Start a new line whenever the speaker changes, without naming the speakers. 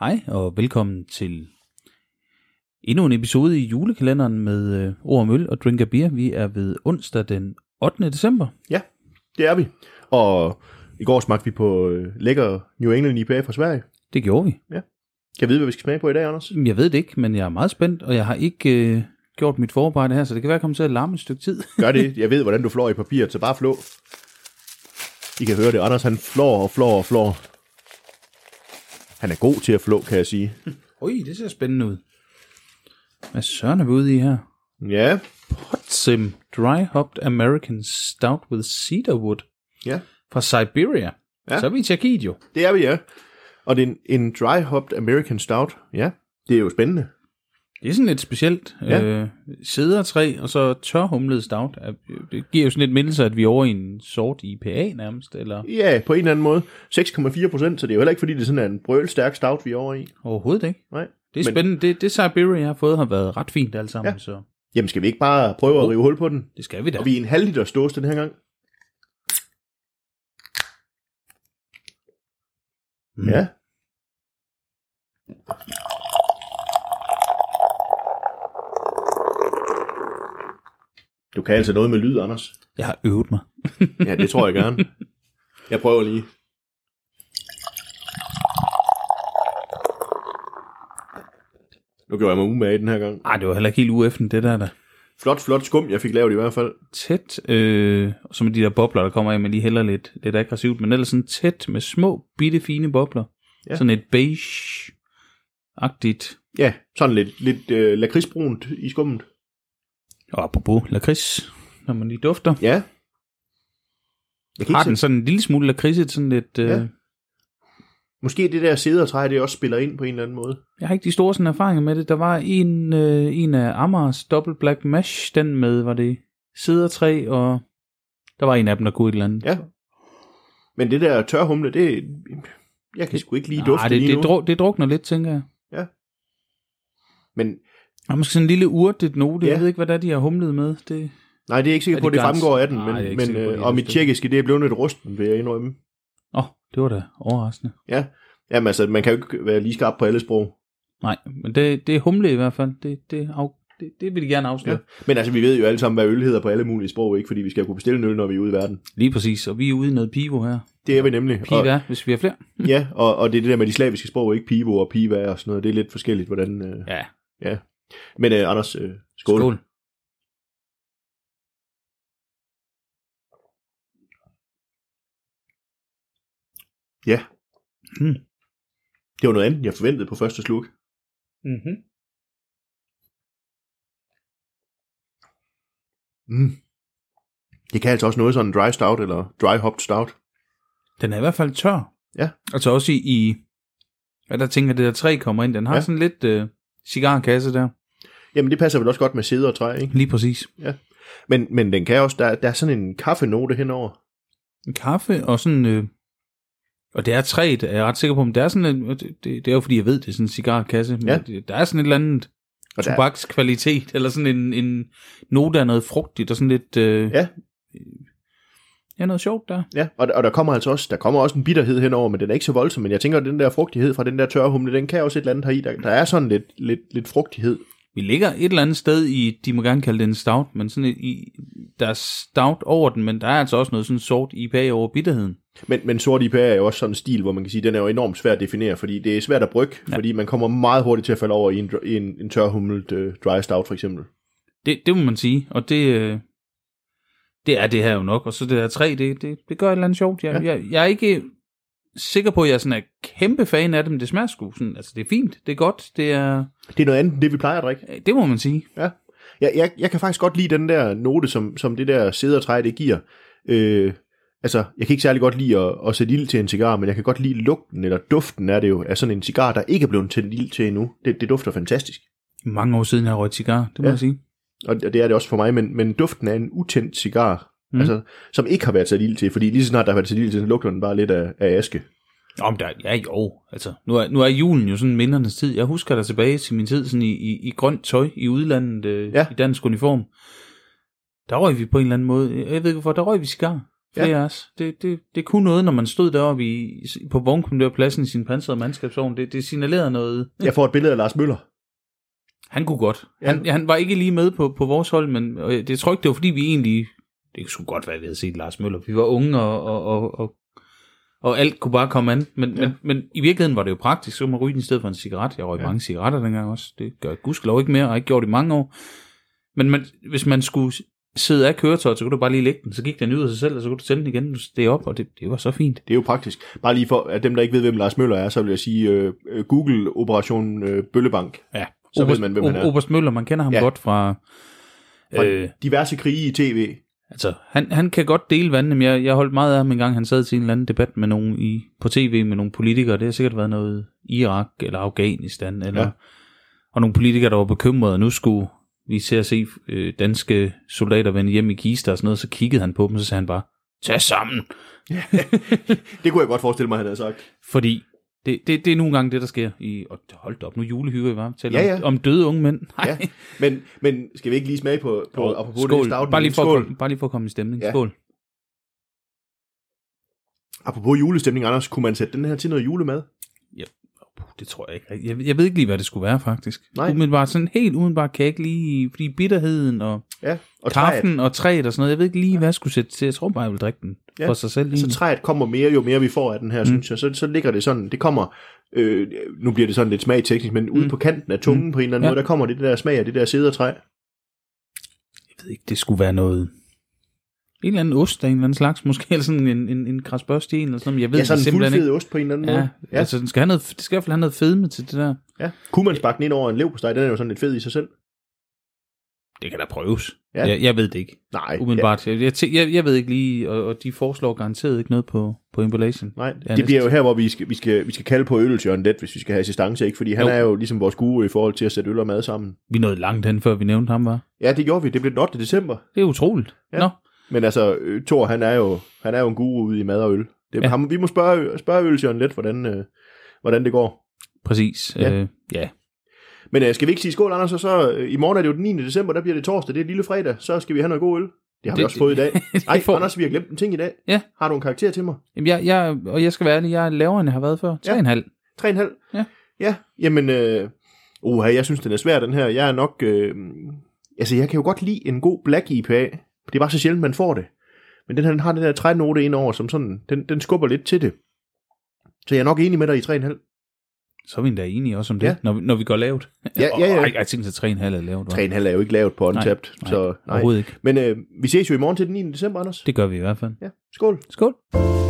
Hej og velkommen til endnu en episode i julekalenderen med øh, Ord om Øl og Drink af Beer. Vi er ved onsdag den 8. december.
Ja, det er vi. Og i går smagte vi på øh, lækker New England IPA fra Sverige.
Det gjorde vi.
Kan jeg vide, hvad vi skal smage på i dag, Anders?
Jamen, Jeg ved det ikke, men jeg er meget spændt, og jeg har ikke øh, gjort mit forarbejde her, så det kan være, at jeg kommer til at larme et stykke tid.
Gør det. Jeg ved, hvordan du flår i papiret, så bare flå. I kan høre det. Anders, han flår og flår og flår. Han er god til at flå, kan jeg sige.
Oj, det ser spændende ud. Hvad søren er vi ude i her?
Ja,
Sim Dry Hopped American Stout with Cedarwood
ja.
fra Siberia. Ja.
Ja.
Så er vi i Tjekkiet jo.
Det er vi, ja. Og det er en, en dry-hopped American Stout. Ja, det er jo spændende.
Det er sådan lidt specielt. Ja.
Ja.
Øh, sædertræ og så tørhumlet stout. Er- Det giver jo sådan lidt mindelse, at vi er over i en sort IPA nærmest. Eller
Ja, på en eller anden måde. 6,4 procent, så det er jo heller ikke, fordi det er sådan er en brølstærk stout, vi er over i.
overhovedet ikke.
Nej.
Det er
Men-
spændende. Det, det Siberia har fået har været ret fint alt sammen. Ja.
Ja.
Så
Jamen, skal vi ikke bare prøve at rive hul på den?
det skal vi da.
Og vi er i en halv liter stås den her gang.
Mm.
Mm. Ja. Du kan altså noget med lyd, Anders.
Jeg har øvet mig.
Ja, det tror jeg gerne. Jeg prøver lige. Nu gjorde jeg mig umage den her gang.
Ej, det var heller ikke helt ueffen, det der. der.
Flot, flot skum, jeg fik lavet i hvert fald.
Tæt, øh, som de der bobler, der kommer af, man lige hælder lidt, lidt aggressivt, men ellers sådan tæt med små, bitte fine bobler. Ja.
Ja.
Sådan et beige-agtigt.
Ja, sådan lidt, lidt øh, lakridsbrunt i skummet.
Og apropos lakrids, når man lige dufter.
Ja. Jeg kan
Har
ikke
den
se-
sådan en lille smule lakridset, sådan lidt... Øh, ja.
Ja. Måske det der sædertræ, det også spiller ind på en eller anden måde.
Jeg har ikke de store sådan, erfaringer med det. Der var en, øh, en af Amars Double Black Mash, den med, var det sædertræ, og der var en af dem, der kunne et eller andet.
Ja. Men det der tørhumle, det... Jeg kan sgu ikke lige dufte
Nej, Ah, det,
lige
det,
nu.
dru- det drukner lidt, tænker jeg.
Men
Der er måske sådan en lille urtet note. Ja.
Ja.
Jeg ved ikke, hvad det er, de har humlet med. Det...
nej, det er jeg ikke sikker
Er
på,
det
at det
grænsen?
fremgår af den.
Nej,
Men,
jeg er ikke
men
sikker på, at
øh,
det er
og mit
det.
tjekkiske, det er blevet lidt rusten, vil jeg indrømme.
Åh, oh, det var da overraskende.
Ja, Jamen altså, man kan jo ikke være lige skarp på alle sprog.
Nej, men det, det er humle i hvert fald. Det, det, af, det, det vil de gerne
Ja.
afsløre.
Ja.
Ja.
Men altså, vi ved jo alle sammen, hvad øl hedder på alle mulige sprog, ikke? Fordi vi skal jo kunne bestille en øl, når vi er ude i verden.
Lige præcis, og vi er ude i noget pivo her.
Det er vi nemlig. Og,
Piva, hvis vi har flere.
ja, og, og det er det der med de slaviske sprog, ikke? Pivo og piva og sådan noget. Det er lidt forskelligt, hvordan... Øh...
Ja,
Men øh, Anders, øh, skål. skål.
skål.
Det var noget andet, end jeg forventede på første sluk.
Mm-hmm.
Mm. Det kan altså også noget sådan en dry stout eller dry hopped stout.
Den er i hvert fald tør.
Ja.
Altså også i, i hvad der tænker, det der træ kommer ind. Den har ja.
Ja.
sådan lidt øh, cigarkasse der.
Jamen det passer vel også godt med sæde og træ, ikke?
Lige præcis.
Men, men den kan også, der, der er sådan en kaffenote henover.
En kaffe og sådan... Øh, og det er træet, er jeg ret sikker på, men det er sådan en, det, det, er jo fordi, jeg ved, det er sådan en cigarkasse, men
Ja.
det, der er sådan et eller andet
Og der, er-
tobakskvalitet, eller sådan en, en note af noget frugtigt, og sådan lidt... Øh,
Ja.
Ja, noget sjovt der.
ja, og, der- og der kommer altså også, der kommer også en bitterhed henover, men den er ikke så voldsom, men jeg tænker, at den der frugtighed fra den der tørre humle, den kan også et eller andet heri. Der, der er sådan lidt, lidt, lidt frugtighed.
Vi ligger et eller andet sted i, de må gerne kalde det en stout, men sådan i, der er stout over den, men der er altså også noget sådan sort IPA over bitterheden.
Men, men sort IPA er jo også sådan en stil, hvor man kan sige, den er jo enormt svær at definere, fordi det er svært at brygge, ja. fordi man kommer meget hurtigt til at falde over i en, dr- i en, en tørhumlet uh, dry stout for eksempel.
Det, det må man sige, og det, øh, det er det her jo nok. Og så det her træ, det, det, det gør et eller andet sjovt. Jeg, ja. jeg, jeg er ikke sikker på, at jeg sådan er kæmpe fan af dem. Det smager sgu sådan, altså det er fint, det er godt, det er,
Det er noget andet end det, vi plejer at drikke.
det må man sige.
Ja. Jeg, jeg, jeg kan faktisk godt lide den der note, som, som det der sædertræ, det giver. Øh, altså, jeg kan ikke særlig godt lide at, at sætte ild til en cigar, men jeg kan godt lide lugten, eller duften er det jo, af sådan en cigar, der ikke er blevet tændt ild til endnu. Det, det dufter fantastisk.
Mange år siden, jeg har røget cigar, det må ja.
Ja.
jeg sige.
Og og det er det også for mig, men, men duften af en utændt cigar,
Mm.
mm. altså, som ikke har været sat ild til, fordi lige så snart der har været sat ild til, så lugter den bare lidt af, af aske.
Nå, men der, ja jo, altså nu er, nu er julen jo sådan mindernes tid. Jeg husker der tilbage til min tid sådan i, i, i grønt tøj i udlandet, øh, ja.
Ja.
i dansk uniform. Der røg vi på en eller anden måde, jeg ved ikke hvorfor, der røg vi cigar. Flere ja. af os. Det, det, det kunne noget, når man stod deroppe i, på vognkommandørpladsen i sin pansrede mandskabsvogn. Det, det signalerede noget.
Jeg får et billede af Lars Møller.
Han kunne godt.
Ja.
Han, han var ikke lige med på, på vores hold, men og jeg- det tror ikke, det var fordi, vi egentlig... Det skulle godt være, at vi havde set Lars Møller. Vi var unge, og, og, og, og, og alt kunne bare komme an. Men, ja. men, men i virkeligheden var det jo praktisk. Så kunne man ryge den i stedet for en cigaret. Jeg røg ja. mange cigaretter dengang også. Det gør jeg gudskelov ikke mere, og har ikke gjort i mange år. Men man, hvis man skulle sidde af køretøjet, så kunne du bare lige lægge den. Så gik den ud af sig selv, og så kunne du tænde den igen. Du steg op, og det, det var så fint.
Det er jo praktisk. Bare lige for at dem, der ikke ved, hvem Lars Møller er, så vil jeg sige øh, øh, Google Operation øh, Bøllebank.
Ja.
Så ved man, hvem han er.
Oberst Møller, man kender ham
Ja.
ja. godt fra...
Fra
Øh.
diverse krige i tv.
Altså, han, han kan godt dele vandene, men jeg, jeg holdt meget af ham en gang, han sad til en eller anden debat med nogen i, på tv med nogle politikere. Det har sikkert været noget Irak eller Afghanistan, eller,
Ja.
ja. og nogle politikere, der var bekymrede, og nu skulle vi se at se øh, danske soldater vende hjem i kister og sådan noget, så kiggede han på dem, og så sagde han bare, tag sammen,
Det kunne jeg godt forestille mig, han havde sagt.
fordi det, det, det er nogle gange det, der sker i, og hold da op, nu julehygger I var, taler
Ja,
ja,
ja.
ja. Om, om døde unge mænd. Nej.
Ja. Men, men skal vi ikke lige smage på, på
Jo,
apropos det,
skål.
stout,
Bare lige, for,
skål.
skål. bare lige for at komme i stemning.
Ja.
Ja. Skål.
Apropos julestemning, Anders, kunne man sætte den her til noget julemad?
Puh, det tror jeg ikke. rigtig. Jeg, jeg ved ikke lige, hvad det skulle være, faktisk.
Nej.
Umiddelbart, sådan helt udenbart kan jeg ikke lige... Fordi bitterheden og,
Ja, og
og
træet.
kraften og træet og sådan noget, jeg ved ikke lige, hvad jeg skulle sætte til. Jeg tror bare, jeg vil drikke den
Ja,
ja. for sig selv.
Så
Altså,
træet kommer mere, jo mere vi får af den her, mm. synes jeg. Så, så ligger det sådan, det kommer, øh, nu bliver det sådan lidt smagteknisk, men mm. ude på kanten af tungen mm. på en eller anden ja.
Ja.
måde, der kommer det der smag af det der sædertræ.
jeg ved ikke, det skulle være noget... En eller anden ost af en eller anden slags, måske, eller sådan en, en, en græsbørste i en eller sådan noget. men Jeg ved
Ja,
det
sådan en
simpelthen
fuldfed
ikke.
ost på en eller anden
Ja,
måde.
ja. altså den skal, have noget, det skal i hvert fald have noget fedme til det der.
ja. Kunne man sparke den ind over en leverpostej? Den er jo sådan lidt fed i sig selv.
Det kan da prøves.
Ja.
Ja. Jeg, jeg ved det ikke,
Nej, ja,
umiddelbart. Ja. Jeg, jeg, tæ- jeg, jeg ved ikke lige, og, og de foreslår garanteret ikke noget på, på emballagen.
nej.
Ja,
det bliver jo
næsten.
her, hvor vi skal, vi skal, vi skal kalde på øl til Jørgen Let, hvis vi skal have assistance, ikke? Fordi han
Jo.
er jo ligesom vores guru i forhold til at sætte øl og mad sammen.
Vi nåede langt hen, før vi nævnte ham, var.
Ja, det gjorde vi. Det blev den 8. december.
Det er utroligt.
Ja.
Ja. Nå,
Men altså, øh, Thor, han er jo, han er jo en guru ude i mad og øl. Det, ja.
Ja.
ham, vi må spørge, spørge Ølsjøren lidt, hvordan, øh, hvordan det går.
Præcis.
Ja.
Ja. Øh, ja.
Men øh, skal vi ikke sige skål, Anders? Og så, øh, I morgen er det jo den 9. december, der bliver det torsdag, det er lille fredag, så skal vi have noget god øl. Det har det, vi
Det-
også fået i dag. Nej,
får vi.
Anders, vi har glemt en ting i dag.
Ja.
Har du en karakter til mig?
Jamen, jeg, jeg, og jeg skal være ærlig, jeg er lavere, end jeg har været før. 3,5.
3,5?
Ja.
Ja, jamen, øh, oha, jeg synes, den er svær, den her. Jeg er nok, øh, altså, jeg kan jo godt lide en god black IPA. Det er bare så sjældent, man får det. Men den her, den har den der trænote ind over, som sådan, den, den skubber lidt til det. Så jeg er nok enig med dig i 3,5.
Så er vi endda enige også om det,
Ja.
ja. når, vi, når vi går lavt.
Ja, ja, ja.
Og, jeg tænkte, at 3,5 er lavt. hva'?
3,5 er jo ikke lavet på Untapped,
nej,
så nej.
Overhovedet ikke.
Men øh, vi ses jo i morgen til den 9. december, Anders.
Det gør vi i hvert fald.
Ja, skål.
Skål.